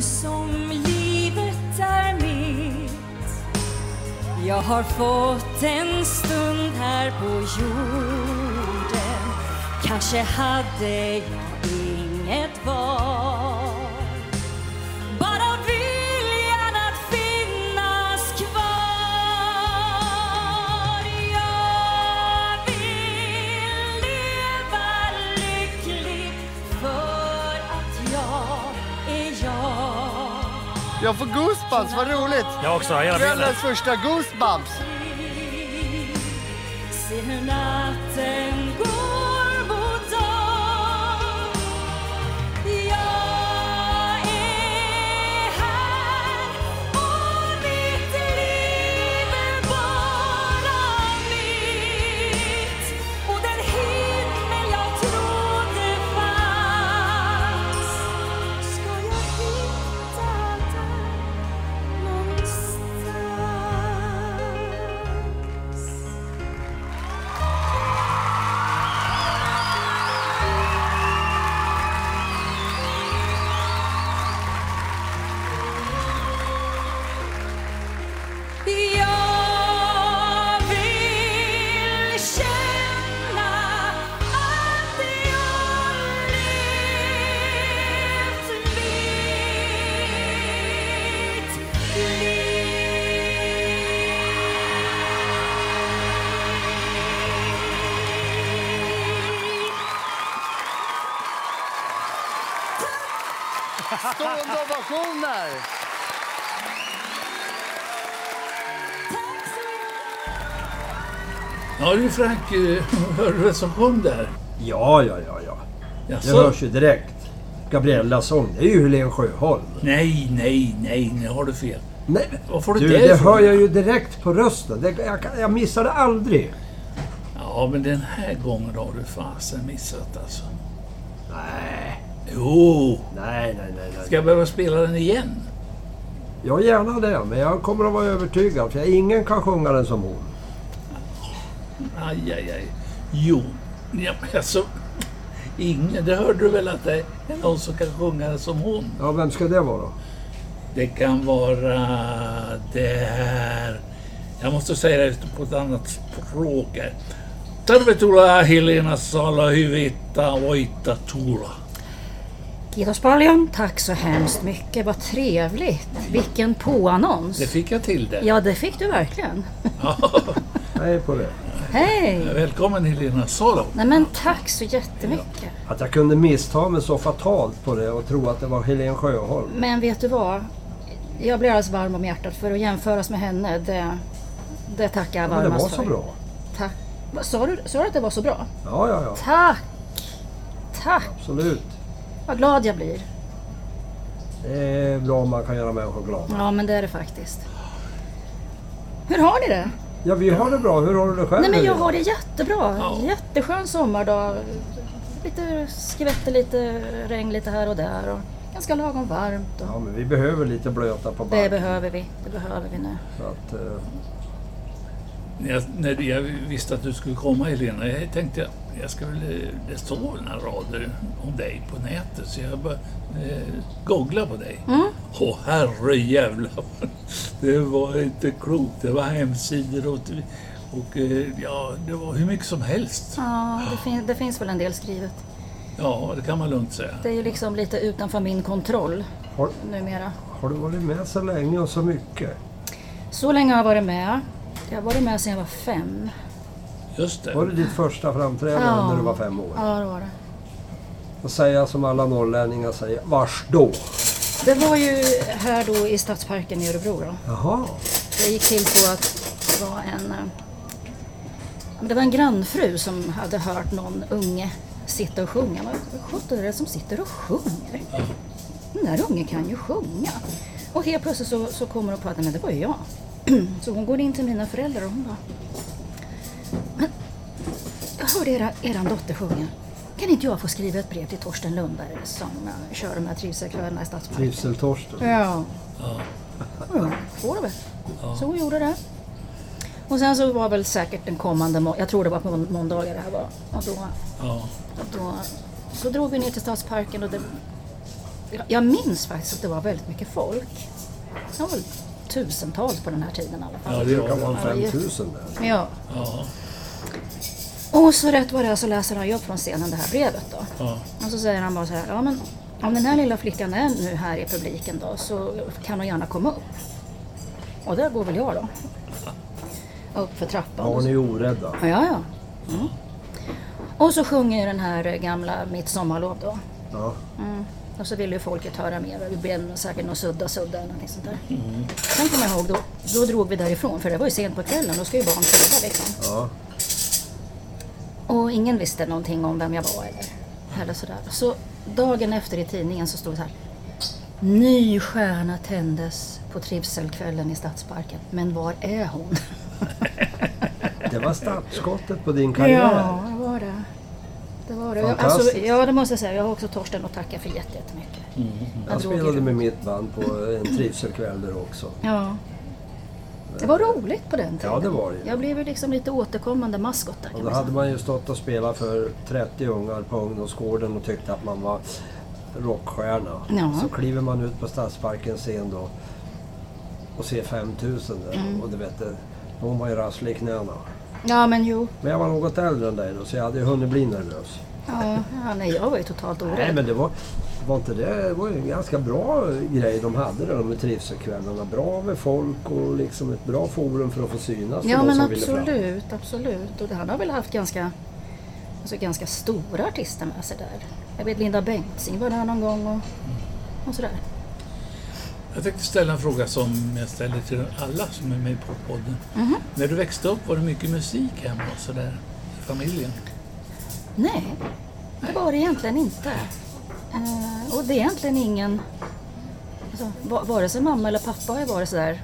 som livet är mitt Jag har fått en stund här på jorden Kanske hade jag inget val Bara viljan att finnas kvar Jag vill leva lycklig för att jag är jag Jag får goosebumps, vad roligt! Jag också, hela bilden. Kvällens första goosebumps! Se hur natten går mot dag Jag är här och mitt liv är bara mitt Och den himmel jag trodde fanns Ska jag hitta där någonstans? Jag vill känna att jag levt mitt liv Stående ovationer! Tack så mycket! Ja du Frank, eh, hörde du vem som kom där? Ja, ja, ja, ja. Det Jaså? hörs ju direkt. Gabriellas sång, det är ju Helen Sjöholm. Nej, nej, nej, nu har du fel. Nej, Var får du du, det det ifrån? hör jag ju direkt på rösten. Det, jag, kan- jag missar det aldrig. Ja, men den här gången har du fasen missat alltså. Nej, Jo! nej, nej, nej. nej. Ska jag behöva spela den igen? Jag gärna det, men jag kommer att vara övertygad. För ingen kan sjunga den som hon. Aj, aj, aj. Jo, ja, alltså. Ingen, det hörde du väl att det är någon som kan sjunga som hon? Ja, vem ska det vara då? Det kan vara det här... Jag måste säga det på ett annat språk här. Tervetuloa Helena Salahyvitta Oita Tula. Kiitos paljon. Tack så hemskt mycket. Vad trevligt. Vilken Det påannons. fick jag till det. Ja, det fick du verkligen. Nej på det. Hej! Välkommen Helena Salo. Nej men tack så jättemycket. Att jag kunde missta mig så fatalt på det och tro att det var Helen Sjöholm. Men vet du vad? Jag blir alldeles varm om hjärtat för att jämföras med henne, det, det tackar jag Ja, men det varmast var så för. bra. Tack. Vad Sa du, sa du att det var så bra? Ja, ja, ja. Tack! Tack! Absolut. Vad glad jag blir. Det är bra om man kan göra människor glada. Ja, men det är det faktiskt. Hur har ni det? Ja, vi har det bra. Hur har du det själv? Nej men jag Helena? har det jättebra. Ja. Jätteskön sommardag. Lite skvätter, lite regn lite här och där. Och ganska lagom varmt. Och Ja, men vi behöver lite blöta på Det backen. behöver vi. Det behöver vi nu. så att, eh, Jag, när jag visste att du skulle komma Helena, jag tänkte jag, jag ska väl, eh, det står väl några rader om dig på nätet så jag bara eh, googla på dig. Åh herre jävlar. Det var inte klokt. Det var hemsidor och, och eh, ja, det var hur mycket som helst. Ja, det, fin- det finns väl en del skrivet. Ja, det kan man lugnt säga. Det är ju liksom lite utanför min kontroll har, numera. har du varit med så länge och så mycket? Så länge har jag varit med. Jag har varit med sedan jag var fem. Just Var det. det ditt första framträdande Ja. när du var fem år? Ja, det var det. Och säga som alla norrlänningar säger, vars då? Det var ju här då i Stadsparken i Örebro då. Jaha, Det gick till så att det var en, eh, men det var en grannfru som hade hört någon unge sitta och sjunga. Vad sjutton är det som sitter och sjunger? Den där ungen kan ju sjunga. Och helt plötsligt så, så kommer hon på att "Nej, men det var ju jag. Så hon går in till mina föräldrar och hon bara. Men jag hörde era, eran dotter sjunga. Kan inte jag få skriva ett brev till Torsten Lundberg som eh, kör de här trivselkvällarna i Stadsparken? trivseltorsten. Ja. ja. Får det väl. Så hon gjorde det. Och sen så var väl säkert den kommande, må- jag tror det var på må- måndagar det här var. Och då, Ja. och då så drog vi ner till Stadsparken och det jag- jag minns faktiskt att det var väldigt mycket folk. Det var väl tusentals på den här tiden i alla Ja, fall. det Det kan vara var 5000 där. Ja. ja, Och så rätt vad det är så läser han ju upp från scenen det här brevet då. ja, Och så säger han bara så här, ja men om den här lilla flickan är nu här i publiken då så kan hon gärna komma upp. Och där går väl jag då. Upp för trappan. Ja, och så- ni är orädda. Ja, ja. Mm. Och så sjunger ju den här eh, gamla Mitt sommarlov då. Mm. Ja. Och så ville ju folket höra mer. Det blev säkert någon sudda sudda eller någonting sånt där. Mm. Sen kommer jag ihåg, då, då drog vi därifrån för det var ju sent på kvällen. Då ska ju barn sova liksom. Ja. Och ingen visste någonting om vem jag var eller, eller sådär. Så dagen efter i tidningen så stod det så här. Ny stjärna tändes på trivselkvällen i Stadsparken. Men var är hon? Det var startskottet på din karriär. det var det. Det var det. Jag, alltså, Fantastiskt. ja, det måste jag säga. Jag har också Torsten att tacka för jätte- jättemycket. Jag Jag drog ju spelade runt. med mitt band på en trivselkväll där också. Ja. Det var roligt på den tiden. Ja, det var det ju. Jag blev ju liksom lite återkommande maskot där Och kan då man säga. hade man ju stått och spelat för 30 ungar på ungdomsgården och tyckte att man var rockstjärna. Ja. Så kliver man ut på Stadsparkens scen då och ser 5000 där. Mm. Och du vet, de var ju rasslig i knäna. Ja, men jo. Men jag var något äldre än dig då så jag hade ju hunnit bli nervös. Ja, ja, nej, jag var ju totalt orädd. Nej men det var, var inte det, det var ju en ganska bra grej de hade där, de här trivselkvällarna. Bra med folk och liksom ett bra forum för att få synas för Ja de men som ville fram. absolut, absolut. Och han har väl haft ganska, alltså ganska stora artister med sig där. Jag vet Linda Bengtzing var där någon gång och, och sådär. Jag tänkte ställa en fråga som jag ställer till alla som är med på podden. När du växte upp, var det mycket musik hemma och sådär? I familjen? Nej, det var det egentligen inte. Eh, och det är egentligen ingen, alltså, va- vare sig mamma eller pappa har ju varit sådär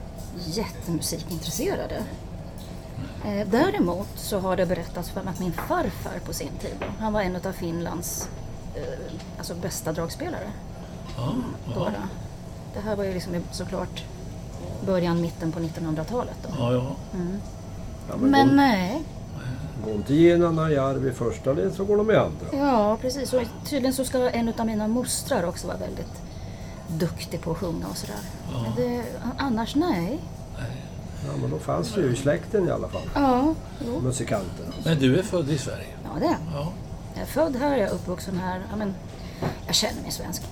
jättemusikintresserade. Eh, däremot så har det berättats för mig att min farfar på sin tid, han var en av Finlands eh, alltså bästa dragspelare. Ja, ja, bara. Det här var ju liksom såklart början, mitten på 1900-talet. Då. ja, ja. Ja, men Men eh, går, nej, går inte Gina Järv i första led så går de i andra. ja precis. Och tydligen så ska en av mina mostrar också vara väldigt duktig på att sjunga och sådär. Men Det, annars nej. Ja, men då fanns det ju i släkten i alla fall, Ja, jo. musikanterna. Men du är född i Sverige? ja det är jag. Ja. Jag är född här, jag är uppvuxen här. Ja, men, jag känner mig svensk.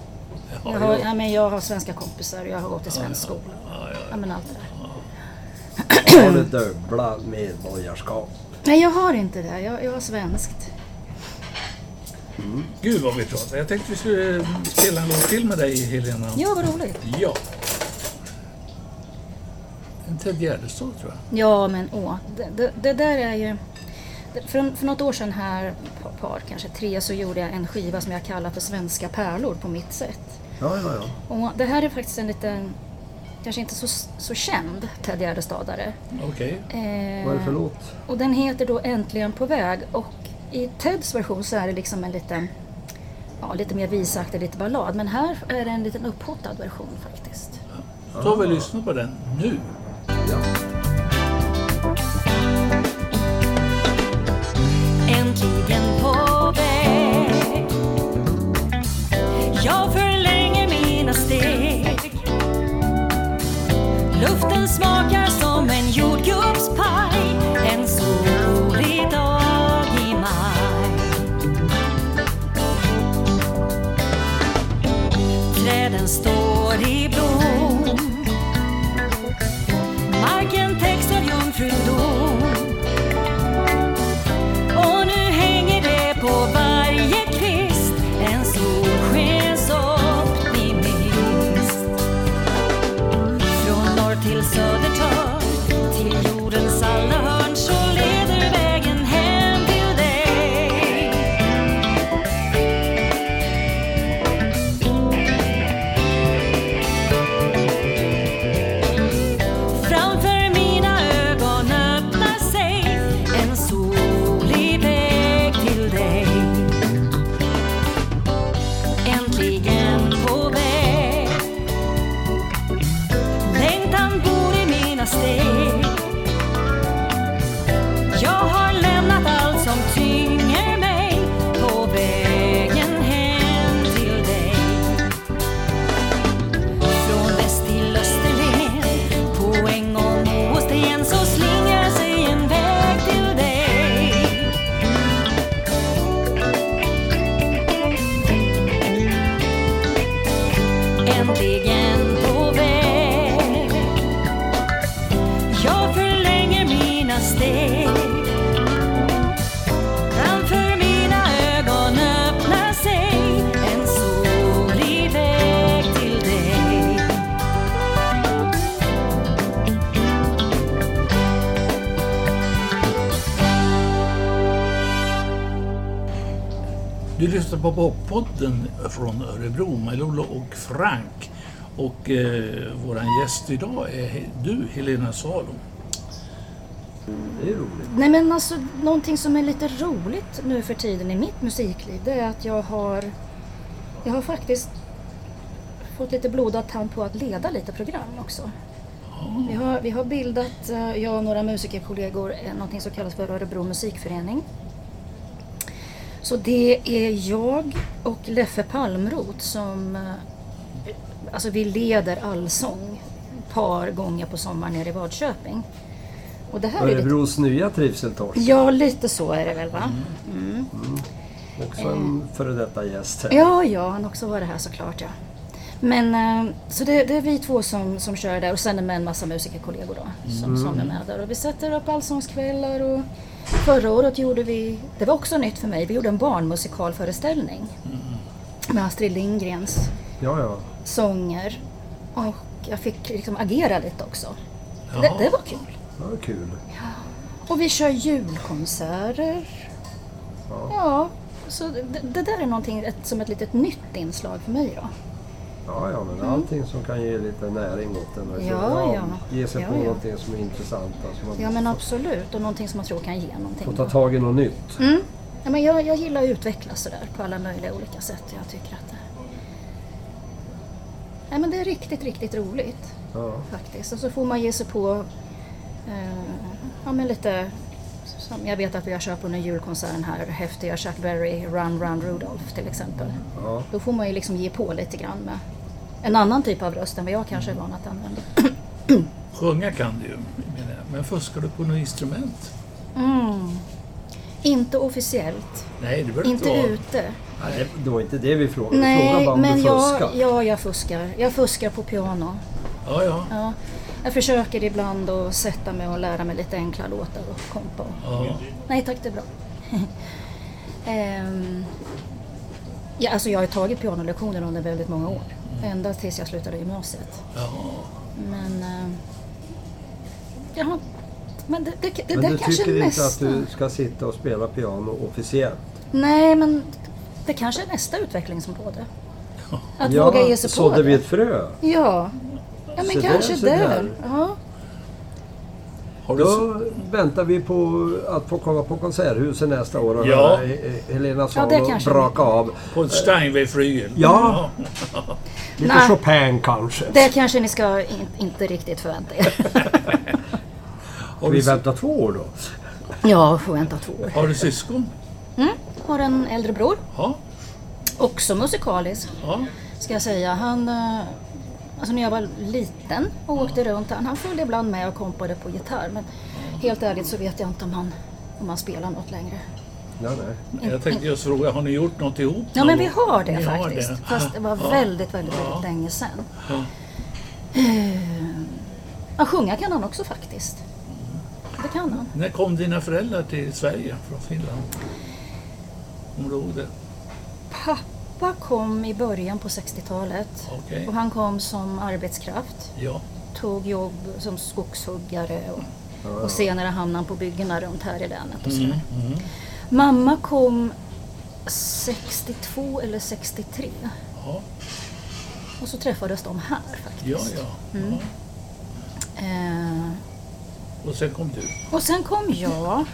Ja, Jag har, ja, men jag har svenska kompisar, jag har gått i svensk skola. Ja, men allt det där. Har det dubbla medborgarskap. Nej, jag har inte det. Jag, jag har svenskt. Gud vad vi pratar. Jag tänkte vi skulle eh, spela en låt till med dig Helena. Ja, vad roligt. Ja. En Ted Gärdestad tror jag. Ja, men åh. Det, det, det där är ju... det- För, för något år sedan här, par- par kanske tre, så gjorde jag en skiva som jag kallar för Svenska pärlor på mitt sätt. Ja, ja, ja. Och det här är faktiskt en liten, kanske inte så, så känd Ted Gärdestadare. Okej. Eh, Vad är det för låt? och den heter då Äntligen på väg och i Teds version så är det liksom en liten, ja lite mer visaktig, lite ballad. Men här är det en liten upphottad version faktiskt. Då tar vi och lyssnar på den nu. Ja. Äntligen på väg Jag förlänger mina steg Luften smakar som en jordgubbspaj En solig dag i maj Träden står i blom Marken täcks av jungfrudom och nu hänger det på varje kvist en solskensoptimist. Från norr till Södertörn, till jordens alla hörn så leder vägen hem till dig. lyssnar på Poppodden från Örebro med Lollo och Frank. Och eh, vår gäst idag är he- du, Helena Salo. Det är ju roligt. Nej men alltså, någonting som är lite roligt nu för tiden i mitt musikliv det är att jag har, jag har faktiskt fått lite blodad tand på att leda lite program också. Vi har, vi har bildat, eh, jag och några musikerkollegor, eh, någonting som kallas för Örebro musikförening. Så det är jag och Leffe Palmroth som, eh, alltså vi leder allsång ett par gånger på sommaren nere i Vadköping. Och det här är lite Örebros nya trivseltorg. Ja, lite så är det väl va? Också en före detta gäst här. Ja, ja, han har också varit här såklart ja. Men eh, så det, det är vi två som, som kör där och sen är med en massa musikerkollegor då som, som är med där. Och vi sätter upp allsångskvällar och förra året gjorde vi, det var också nytt för mig, vi gjorde en barnmusikalföreställning med Astrid Lindgrens Ja, ja. sånger och jag fick liksom agera lite också. Jaha. Det, det var kul. Det var kul. Och vi kör julkonserter. Ja. Ja, så det, det där är någonting ett, som ett litet nytt inslag för mig då. Ja, ja, men allting som kan ge lite näring åt en. verkligen. Mm. Ja, ja. Ge sig Ja, på ja. någonting som är intressant. Alltså man Ja men absolut, och någonting som man tror kan ge någonting. får ta tag i något nytt. Mm. Ja, men jag, jag gillar att utvecklas sådär på alla möjliga olika sätt. Jag tycker att det... Nej, men det är riktigt, riktigt roligt Ja. faktiskt. Och så får man ge sig på eh, ja, men lite, som jag vet att vi har kört på under julkonserten här, häftiga Chuck Berry, Run Run Rudolph till exempel. Ja. Då får man ju liksom ge på lite grann med en annan typ av röst än vad jag kanske är van att använda. Sjunga kan du ju, menar jag. men fuskar du på något instrument? Mm. Inte officiellt, Nej, det behöver inte vara. ute. Nej, det var inte det vi frågade. vi frågade bara Nej, om men du jag, fuskar. ja, jag fuskar. Jag fuskar på piano. Ja, ja. Ja. Jag försöker ibland att sätta mig och lära mig lite enkla låtar och kompa. ja. Nej tack, det är bra. Ehm, ja, alltså jag har tagit pianolektioner under väldigt många år. Ända tills jag slutade gymnasiet. ja. Men... Eh, ja, men det, det, det men där du kanske tycker inte att nästa... du ska sitta och spela piano officiellt? Nej, men det kanske är nästa utvecklingsområde. Att Ja, våga ge sig på sådde vi ett frö. Ja, ja men Så där, kanske så där. där. Ja. Har du s- Då väntar vi på att få komma på Konserthuset nästa år och Ja. höra eh, eh, Helena Salo det kanske braka av. på en Steinway-flygel? Ja. Lite Nej. Chopin kanske. Det kanske ni ska in, inte riktigt förvänta er. Har du, Vi s- väntar två år då. Ja, får vänta två år. har du syskon? Mm. Har en äldre bror, Ja. också musikalisk ja. ska jag säga. Han, eh, alltså när jag var liten och åkte runt, han, han följde ibland med och kompade på gitarr. Men helt ärligt så vet jag inte om han, om han spelar något längre. Nej, nej. Jag tänkte just fråga, har ni gjort något ihop? Ja, någon men vi gång? har det Ni har faktiskt. det. Fast det var Ja. väldigt, väldigt, Ja. väldigt länge sedan. Ja. Eh, Ja, sjunga kan han också faktiskt. Det kan han. När kom dina föräldrar till Sverige från Finland? Kommer du ihåg det? Pappa kom i början på 60-talet. Okej. Och han kom som arbetskraft. Ja. Tog jobb som skogshuggare Ah. och, och senare hamnade han på byggena runt här i länet. Och Mm, sådär. Mamma kom 62 eller 63 Ja, och så träffades de här faktiskt. ja. ja. Mm. ja. Eh, Och sen kom du. och sen kom jag.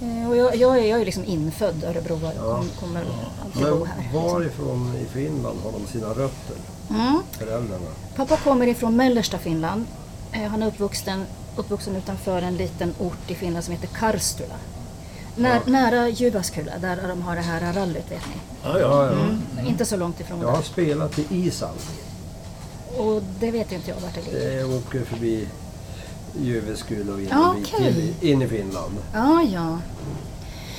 Eh, och jag, jag, är, jag är liksom infödd örebroare och kom, kommer alltid bo Men här. varifrån i Finland har de sina rötter, Mm. föräldrarna? Pappa kommer ifrån mellersta Finland. Eh, Han är uppvuxen, uppvuxen utanför en liten ort i Finland som heter Karstula. När, Nära Jyväskylä, där de har det här rallyt vet ni. Ja, Mm. ja. Ja, ja. Inte så långt ifrån Jag har spelat i Island. där. Och det vet inte jag vart det ligger. Jag åker förbi Jyväskylä och in, Ja, i- okej. in, in i Finland. Ja, ja.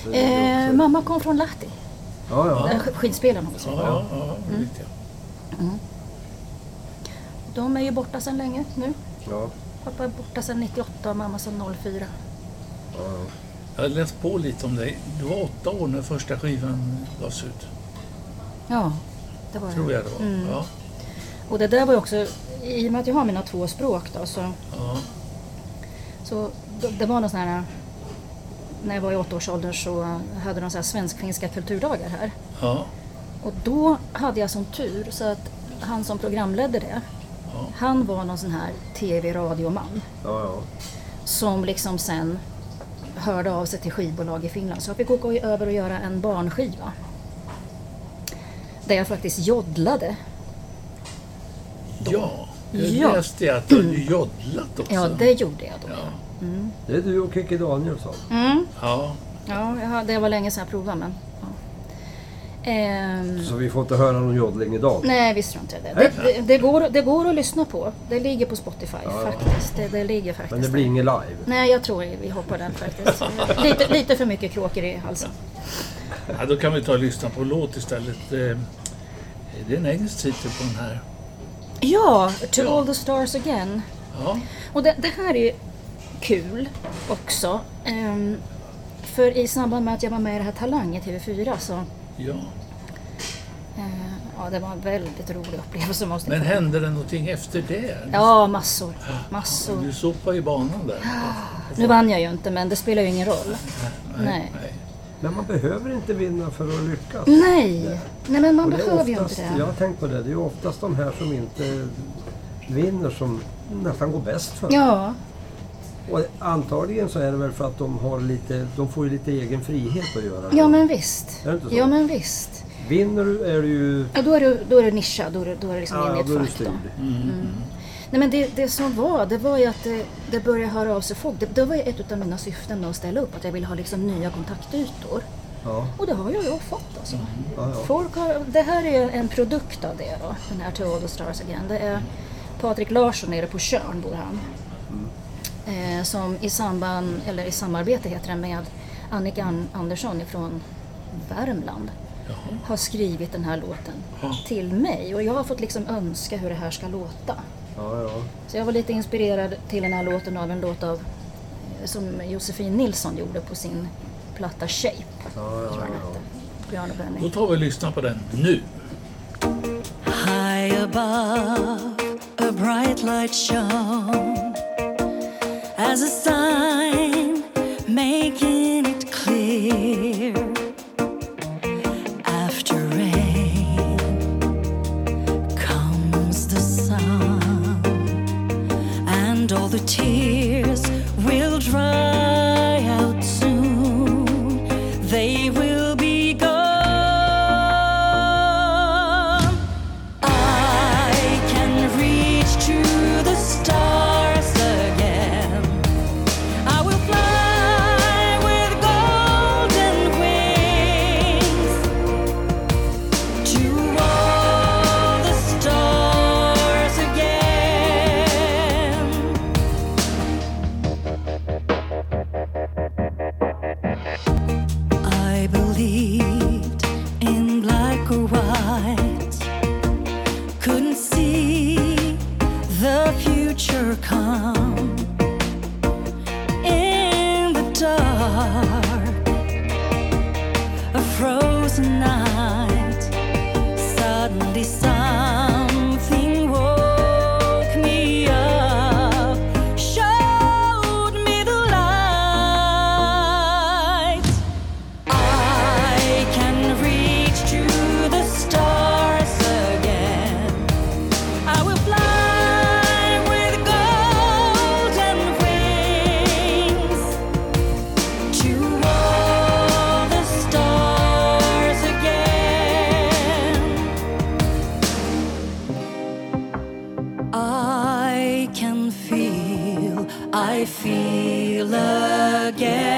Så det är Eh, också- mamma kom från Lahti, ja, ja. där sk- skidspelaren hon ja, spelar. ja, ja. det Mm. vet jag. De är ju borta sedan länge nu. ja. Pappa är borta sedan 98 och mamma sedan 04. ja. Jag har läst på lite om dig. Du var åtta år när första skivan gavs ut. Ja, det var Tror det. jag det var. Ja, Och det där var ju också, i och med att jag har mina två språk då, så ja. Så det, det var någon sån här när jag var i åttaårsåldern så hade de så här svensk-finska kulturdagar här. Ja. Och då hade jag som tur så att han som programledde det, han var någon sån här tv-radioman Ja, som liksom sen hörde av sig till skivbolag i Finland. Så jag fick åka över och göra en barnskiva. Där jag faktiskt joddlade. Ja, jag Ja. läste att du hade joddlat också. Ja, det gjorde jag då. Ja. ja. Det är du och Kikki Danielsson. Ja. Mm. Ja, jag hade, det var länge sedan jag provade men... Ja. Ehm, Så vi får inte höra någon joddling idag. Nej, visst tror jag inte det. Det, det, det, går, det går att lyssna på. Det ligger på Spotify faktiskt. Det, det ligger faktiskt Men det där. blir inget live. Nej, jag tror vi hoppar den faktiskt. lite, lite för mycket kråkor i halsen. ja, då kan vi ta och lyssna på låt istället. Eh, Det är en engelsk titel på den här. Ja, To Ja. All The Stars Again. Ja, Och det, det här är ju kul också. Ehm, för i samband med att jag var med i det här Talang i TV4 så... ja. eh, ja, det var en väldigt rolig upplevelse måste jag Men säga. hände det någonting efter det? Ja, massor. Massor. Du sopade i banan där. Nu vann jag ju inte, men det spelar ju ingen roll. Nej. Men man behöver inte vinna för att lyckas. Nej, nej men man Och det är behöver ju inte oftast, det. Jag har tänkt på det. Det är ju oftast de här som inte vinner som nästan går bäst för. Ja, Och antagligen så är det väl för att de har lite, de får ju lite egen frihet att göra det. ja men visst. Är det inte så? Ja men visst. Vinner du är du ju... Ja, då, är du, då är du nischad, då är du, då är du liksom Ja, inne då i är du ett fack. då. styrd. Nej men det, det som var, det var ju att det, det började höra av sig folk. Det, det var ju ett av mina syften då att ställa upp, att jag ville ha liksom nya kontaktytor. Ja, Och det har ju jag fått alltså. ja, ja. Folk har, det här är ju en produkt av det då, den här To All The Stars Again. Det är Patrik Larsson nere på Tjörn bor han. Eh, som i samband, eller i samarbete heter det, med Annika An- Andersson från Värmland har skrivit den här låten till mig. Och jag har fått liksom önska hur det här ska låta. ja, ja. Så jag var lite inspirerad till den här låten av en låt av, eh, som Josefin Nilsson gjorde på sin platta Shape. ja, ja, ja. Björn och Benny. Då tar vi och lyssnar på den nu. High above, a bright light shone as a sign making it clear. After rain comes the sun, and all the tears will dry out soon. They will be gone. I can reach to the stars again. I will fly with golden wings to all the stars again. I believed in black or white couldn't see the future come in the dark. A frozen night. Suddenly, something woke me up, showed me the light. I can reach to the stars again. I will fly with golden wings to all the stars again. I can feel, I feel again.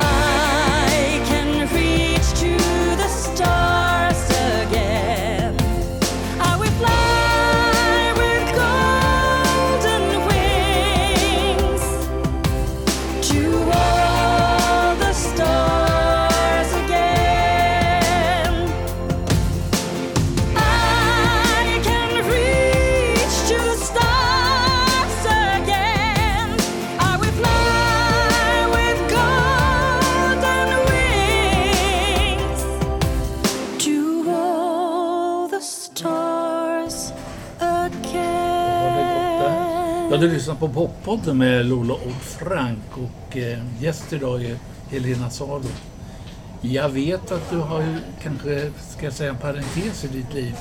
I can reach to the stars again. I will fly with golden wings to all the stars again. I can reach to stars again. Ja, du lyssnar på Poppodden med Lola och Frank och eh, gäst idag är Helena Salo. Jag vet att du har ju kanske, ska jag säga en parentes i ditt liv,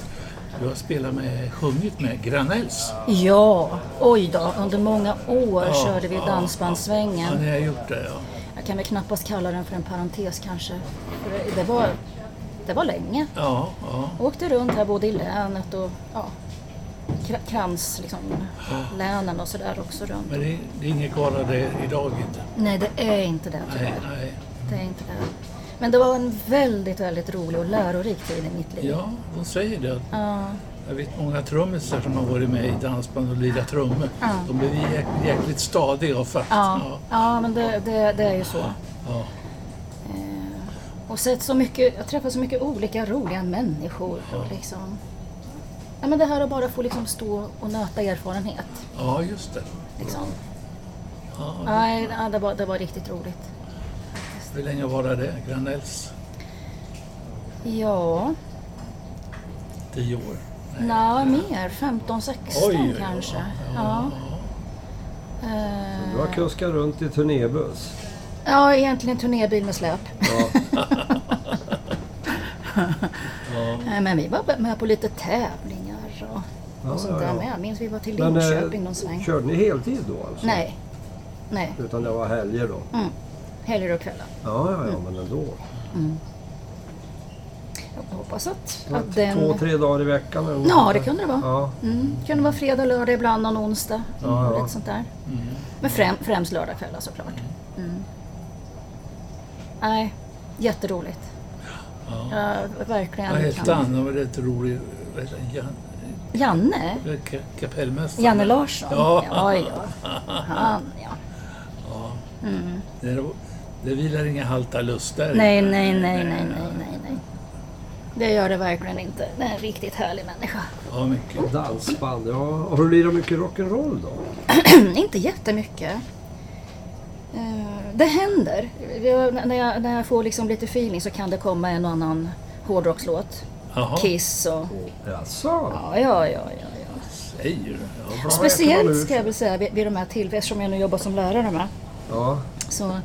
du har spelat med, sjungit med Granells. Ja, oj då. Under många år Ja, körde vi ja, Ja, dansbandssvängen. ni har gjort det ja. Jag kan väl knappast kalla den för en parentes kanske. För det- Det var, det var länge. Ja, ja. Jag åkte runt här både i länet och ja, kra- krans, liksom, länen och sådär också runt. Men det, det är inget kvar av det idag inte. Nej, det är inte det Nej, tyvärr. nej. Det är inte det. Men det var en väldigt, väldigt rolig och lärorik tid i mitt liv. Ja, de säger det. Ja. Jag vet många trummisar som har varit med i dansband och lirat trummor. De blir jäk- jäkligt stadiga och fatt. Ja, ja men det, det, det är ju så. ja. Eh, Och sett så mycket, jag träffat så mycket olika roliga människor. Och liksom. ja, men det här att bara få liksom stå och nöta erfarenhet. ja just det. Liksom. Ja, Nej, ja, det, var, det var riktigt roligt. Hur länge var det? Granells? Ja, Tio år? nej, mer. 15, 16 Oj, oj, oj. kanske. Ja. Eh, Du har kuskat runt i turnébuss. ja, egentligen turnébil med släp. Ja. Nej, Men vi var med på lite tävlingar och, Ja, och sånt ja, där ja. med. Jag minns vi var till Men, eh, Linköping någon sväng. Körde ni heltid då alltså? Nej, nej. Utan det var helger då? Helger och kvällar. Ja, ja, ja men ändå. Jag hoppas att, Så att att den... Två, tre dagar i veckan eller något Ja, sånt det där. kunde det vara. Ja, Mm. Det kunde vara fredag, lördag, ibland någon onsdag. Ja, ja. Lite sånt där. Men främ, främst lördagskvällar såklart. Mm. Nej, jätteroligt. Ja. verkligen. Vad hette kan- han? Han var rätt rolig. vad heter han? Jan, Janne? ka- kapellmästare. Janne Larsson? Ja. ja. ja. Han, ja. Det, det vilar inga halta lustar. i. Nej, nej, nej, nej, nej, nej, nej. Det gör det verkligen inte. Det är en riktigt härlig människa. Ja, mycket. dansband. Ja. Har du lirat mycket rock'n'roll då? inte jättemycket. Eh, Det händer. Jag, när, jag, när jag får liksom lite feeling så kan det komma en och annan hårdrockslåt. Jaha, Kiss och... Jaså? Ja, ja, ja. ja, ja. säger du? Ja, bra. man Speciellt ut ska jag väl säga vid, vid de här tillfällena, eftersom jag nu jobbar som lärare med. Ja. Så,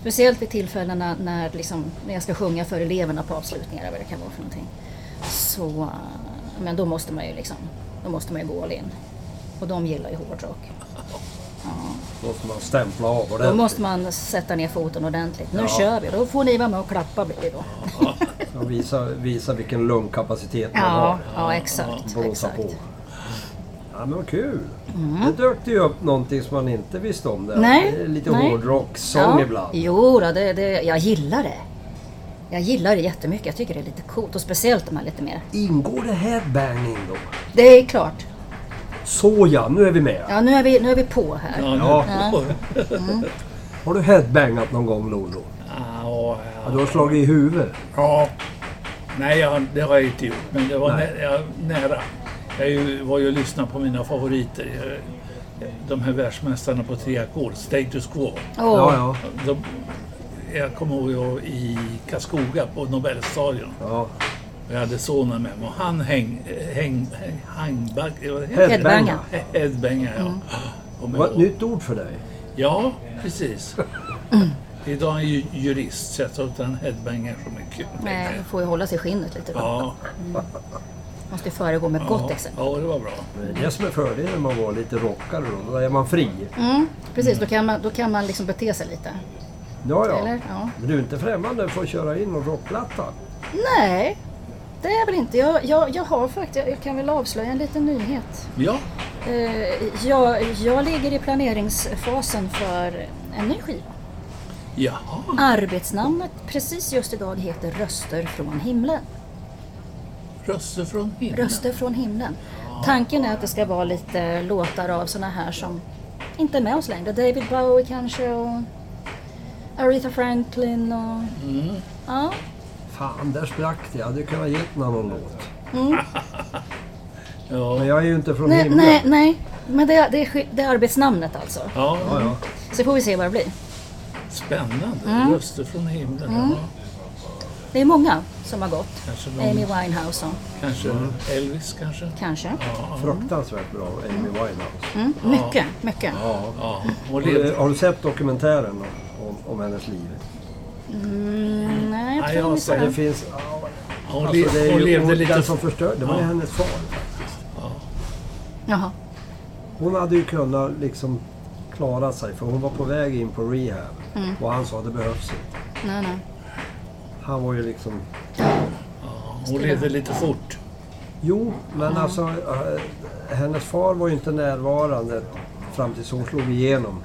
speciellt vid tillfällena när, liksom, när jag ska sjunga för eleverna på avslutningar eller vad det kan vara för någonting. Så, eh, men då måste man ju liksom, då måste man ju gå all in. Och de gillar ju hårdrock. Då måste man stämpla av Då ordentligt. måste man sätta ner foten ordentligt. Nu Ja. kör vi. Då får ni vara med och klappa blir det då. Och visa, visa vilken lungkapacitet man Ja, har. ja exakt. Blåsa exakt. på. Ja, men vad kul. Det dök det ju upp någonting som man inte visste om. Där. Nej, Det är lite nej. hårdrocksång ibland. Jo, då, det, det, jag gillar det. Jag gillar det jättemycket. Jag tycker det är lite coolt och speciellt de här lite mer. Ingår det headbanging då? Det är klart. Såja, nu är vi med. Ja, nu är vi, nu är vi på här. Ja, nu. Ja. Ja. Har du headbangat någon gång Lolo? Ah, Ja, Ja, du har slagit i huvudet. Ja. Nej, jag, det har jag inte gjort. Men det var Nej. nä, jag, nära. Jag ju, var ju och lyssnade på mina favoriter. Jag, de här världsmästarna på tre ackord, Status Quo. Åh, Ja, ja. De, jag kommer ihåg jag var i Karlskoga på Nobelstadion. ja. Jag hade sonen med mig och han häng... häng, häng hangbag, vad heter det? Headbanga. Headbanga, ja. Och Det med- var ett nytt ord för dig. Ja, precis. Idag är jag ju jurist så jag tror inte han headbangar så mycket. Nej, man får ju hålla sig i skinnet lite. Då. Ja, Måste ju föregå med gott ja, exempel. ja, det var bra. Det är det som är fördelen när man var lite rockare då. Då är man fri. Mm, precis, då kan man, då kan man liksom bete sig lite. Ja, ja. Eller? Ja. Men du är inte främmande för att köra in någon rockplatta? Nej, det är väl inte. Jag, jag, jag har faktiskt, jag, jag kan väl avslöja en liten nyhet. Ja, Eh, jag, jag ligger i planeringsfasen för en ny skiva. jaha. Arbetsnamnet precis just idag heter Röster från himlen. Röster från himlen. Röster från himlen. Tanken är att det ska vara lite låtar av såna här som inte är med oss längre. David Bowie kanske och Aretha Franklin och... Ja, Fan, där sprack det. Jag hade kunnat ge den här någon låt. Men Ja, jag är ju inte från Mm. nej, himlen. nej, nej. Men det, det, är, sk- det är arbetsnamnet alltså. Ja, ja. ja. Så får vi se vad det blir. Mm. spännande. Röster från himlen. Ja. Det är många som har gått. Kanske någon- Amy Winehouse och Kanske Mm. Elvis kanske? kanske. Ja, Fruktansvärt bra, Amy Winehouse. Mm, mycket, mycket. ja. Hon Har du, levde. har du sett dokumentären om, om, om hennes liv? Mm, nej, jag Nej, tror jag inte ser Det det. finns... ja, Hon, Alltså, det le- är hon ju levde hon, lite... den som förstörde. Det var ju Ja. hennes far. Jaha. Hon hade ju kunnat liksom klara sig för hon var på väg in på rehab. Och han sa det behövs inte. Mm. Nej, nej. Han var ju liksom... Hon levde lite fort. Jo, men alltså eh, hennes far var ju inte närvarande fram tills hon slog igenom.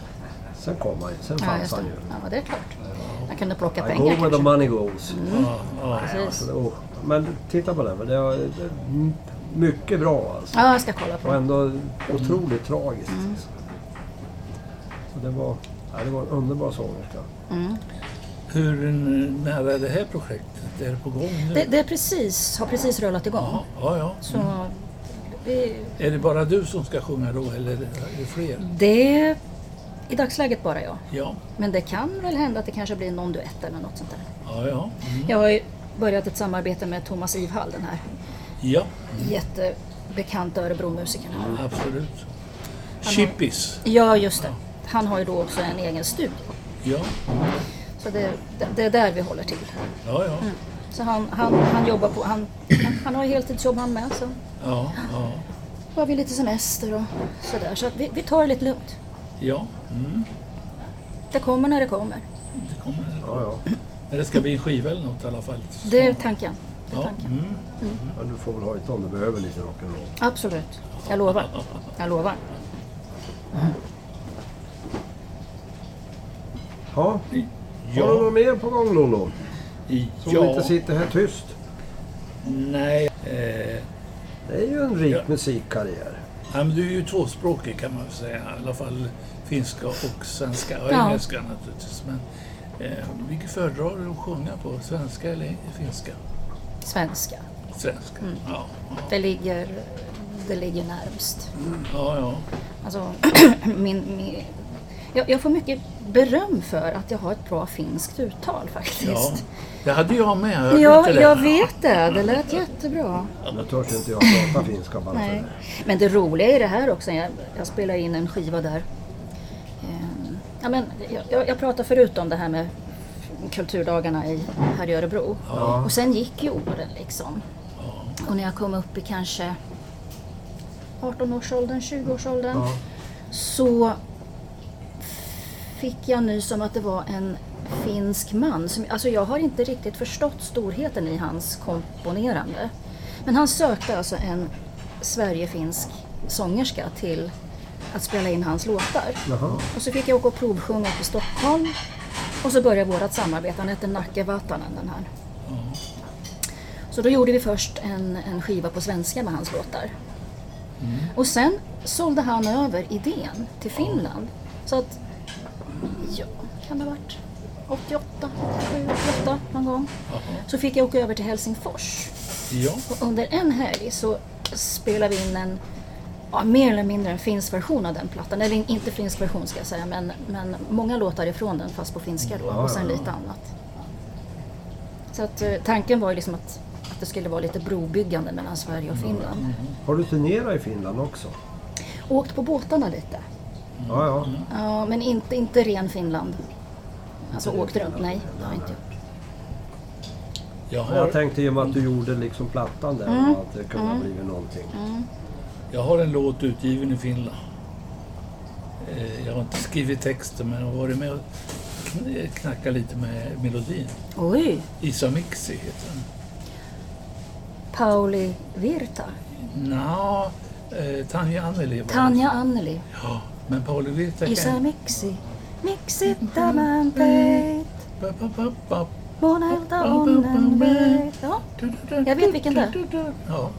Sen kom han ju. Sen Ja, fanns just han det. ju. Ja, det är klart. Jag kunde plocka I go pengar where the kanske. Mm. money goes. Ja, ja. Precis. Så, oh. Men titta på den. för Det var eh, m- mycket bra alltså. Ja, Mm. jag ska kolla på Och det. ändå otroligt tragiskt. liksom. Så det var, ja, det var en underbar sångerska. Hur nära är det här projektet? Är det på gång nu? Det, det är precis, har precis rullat igång. Ja, ja, ja. Så vi, Är det bara du som ska sjunga då eller är det fler? det är i dagsläget bara jag. Ja, Men det kan väl hända att det kanske blir någon duett eller något sånt där. ja, ja. Mm. Jag har ju börjat ett samarbete med Thomas Ivhall, den här ja jättebekanta Örebromusikern. absolut. Chippis. Ja, just det. Han har ju då också en egen studio. Ja, Så det, det, det är där vi håller till. ja, ja. Så han, han, han jobbar på... Han, han, han har ju heltidsjobb han med. Så ja, ja. har vi lite semester och sådär. Så att vi, vi tar det lite lugnt. ja. Mm. Det kommer när det kommer. Det kommer. Ja, ja. Men det ska bli en skiva eller något i alla fall. Det är tanken. Det är Ja, tanken. mm. Ja, du får väl ha ett om du behöver lite rock'n'roll. Absolut. Jag lovar. Jag lovar. Ja. Har du ja. något mer på gång Lollo? Så du ja. inte sitter här tyst. Nej. Eh, Det är ju en rik Ja. musikkarriär. ja, men du är ju tvåspråkig kan man väl säga. I alla fall finska och svenska. Och Ja. engelska naturligtvis. Men eh, vilket föredrar du att sjunga på? Svenska eller finska? Svenska. Svenska. Mm. Ja, ja, Det ligger, det ligger närmst. ja. ja. Alltså, min, min, jag, jag får mycket beröm för att jag har ett bra finskt uttal ja. faktiskt. Det hade jag med. Ja, hörde inte det? jag vet det. Det lät jättebra. Nu törs inte jag prata finska bara för Nej. det. Men det roliga i det här också, jag, jag spelar in en skiva där. Ehm, Ja, men jag- jag, jag pratade förut om det här med kulturdagarna i, här i Örebro. Och sen gick ju åren liksom. Och när jag kom upp i kanske 18-årsåldern, 20-årsåldern. Ja. Så fick jag nys om att det var en finsk man. Som, alltså jag har inte riktigt förstått storheten i hans komponerande. Men han sökte alltså en Sverigefinsk sångerska till att spela in hans låtar. Jaha. Och så fick jag åka och provsjunga till Stockholm. Och så började vårt samarbete. Han hette Nacke Vatanen den här. Så då gjorde vi först en, en skiva på svenska med hans låtar. Och sen sålde han över idén till Finland. Så att, ja, kan det ha varit 88, 7, 88 någon gång. Så fick jag åka över till Helsingfors. Ja, Och under en helg så spelade vi in en ja, mer eller mindre en finsk version av den plattan. Eller in- inte finsk version ska jag säga, men, men många låtar ifrån den fast på finska då och sen ja, ja. lite annat. Så att eh, tanken var ju liksom att, att det skulle vara lite brobyggande mellan Sverige och Finland. Har du turnerat i Finland också? Åkt på båtarna lite. Ja, ja. Ja, men inte, inte ren Finland. Alltså åkt runt, nej. Det har jag inte gjort. jag Men Jag har, tänkte i och med att du gjorde liksom plattan där och att det kunde ha blivit någonting. jag har en låt utgiven i Finland. Eh, Jag har inte skrivit texten men jag har varit med och kn- knackat lite med melodin. Oj! Isa Mixi heter den. Pauli Virta. Nja, eh, Tanja Anneli var det. Tanja Anneli. Ja, men Pauli Virta Isä kan... miksi, miksi tämän teit? Ba, ba, ba, ba. Monelta onnen veit. Ja, Du, du, du, Jag vet vilken det är. du, du, du. Ja.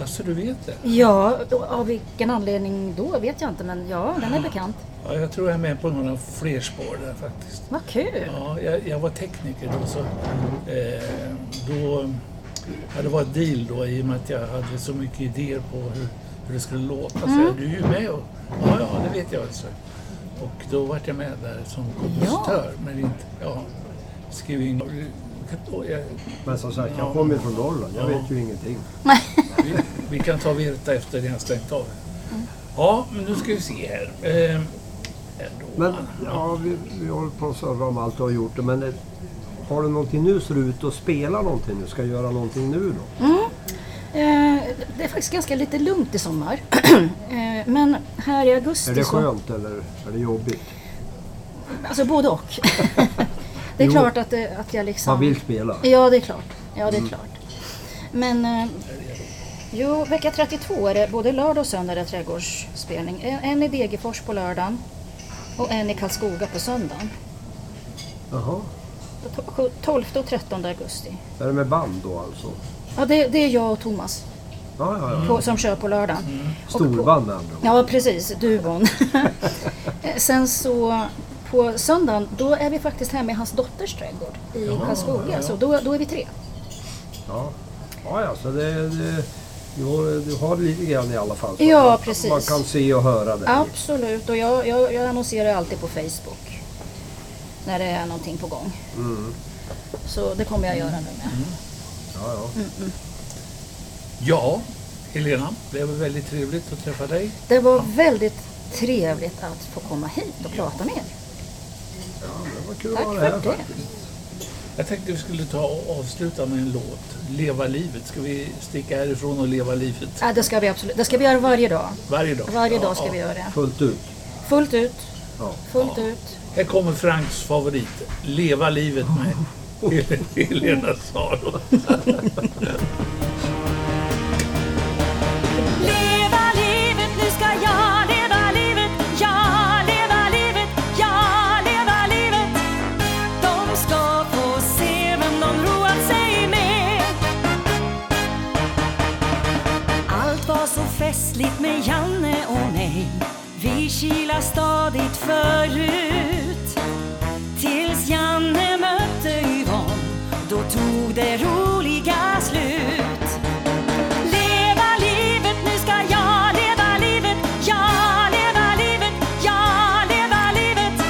Alltså du vet det? ja då- av vilken anledning då vet jag inte, men ja, den är bekant. Ja, jag tror jag är med på några fler spår där faktiskt. Vad kul! Ja, jag, jag var tekniker då. Så, eh, då ja, det var ett deal då i och med att jag hade så mycket idéer på hur, hur det skulle låta. Så jag, du är ju med och, ja, ja, det vet jag. Alltså. Och då vart jag med där som kompositör. Men inte, ja, skrev in och jag, Men som sagt, Ja. jag kommer ju från Norrland. Jag Ja. vet ju ingenting. vi, vi kan ta Virta efter det har stängt av. Ja, men nu ska vi se här. Eh, ändå. Men ja, vi, vi håller på att serva om allt du har gjort. Men det, har du någonting nu så är du ute och spelar någonting nu. Ska jag göra någonting nu då? Eh, det är faktiskt ganska lite lugnt i sommar. eh, men här i augusti Är det så... skönt eller är det jobbigt? Alltså både och. det är Jo. klart att, det, att jag liksom... Man vill spela. Ja, det är klart. Ja, det är klart. Men... Eh, jo, vecka 32 är det både lördag och söndag är det trädgårdsspelning. En, en i Degerfors på lördagen och en i Karlskoga på söndagen. Jaha. To- 12 och 13 augusti. Är det med band då alltså? Ja, det, det är jag och Thomas Ja, ja, ja. på, som kör på lördagen. Och på- Storband med andra ord. Ja, precis. Duon. Eh, Sen så på söndagen, då är vi faktiskt hemma i hans dotters trädgård i Karlskoga. ja, ja. Så då, då är vi tre. Ja, ja, ja så det, det, du, har, du har lite grann i alla fall. Så Ja, man, precis. Man kan se och höra det. Absolut. Och jag, jag, jag annonserar alltid på Facebook när det är någonting på gång. Så det kommer jag göra nu med. Mm. Mm. Ja, ja. Mm. Ja, Helena, det var väldigt trevligt att träffa dig. Det var väldigt trevligt att få komma hit och prata med er. Det var kul Tack att vara för här det. faktiskt. Jag tänkte vi skulle ta och avsluta med en låt. Leva livet. Ska vi sticka härifrån och leva livet? Ja, Äh, det ska vi absolut. Det ska vi göra varje dag. Varje dag. Varje Ja, dag ska ja. vi göra det. Fullt ut. Fullt ut. Ja. Fullt ut. Här kommer Franks favorit. Leva livet med Helena Saro. Leva livet, nu ska jag leva livet Ja, leva livet, ja, leva livet De ska få se vem de roat sig med Allt var så festligt med Janne och mig Vi kilade stadigt förut Tills Janne mötte Yvonne Då tog det roliga slut Leva livet, nu ska jag leva livet Ja, leva livet, ja, leva livet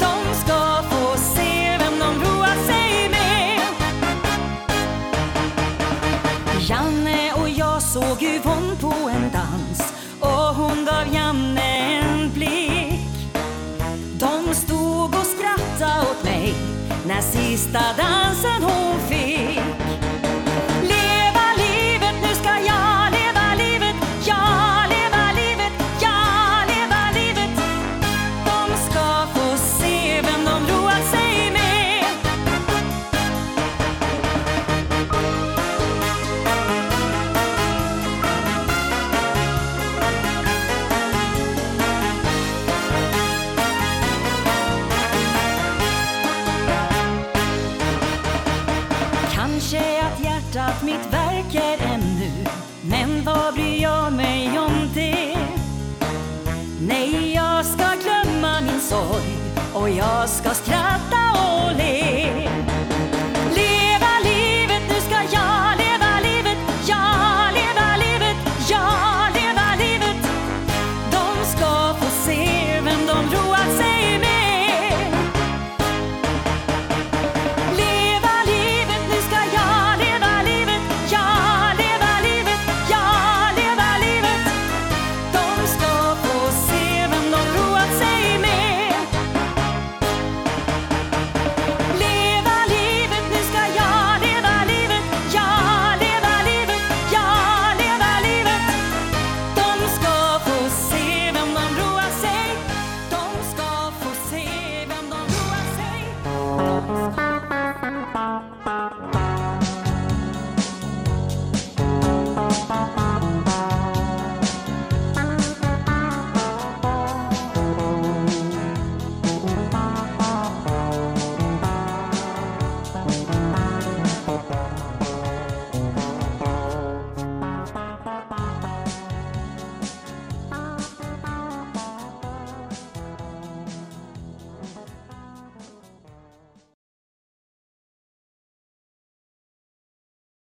De ska få se vem de roar sig med Janne och jag såg Yvonne på en dans och hon gav Janne en blick De stod och skrattade åt mig när sista dansen hon fick Leva livet, nu ska jag leva livet Ja, leva livet, ja, leva livet De ska få se vem de roat sig med Kanske att hjärtat mitt verkar ännu Men vad bryr jag mig om det? Nej, jag ska glömma min sorg och jag ska skratta och le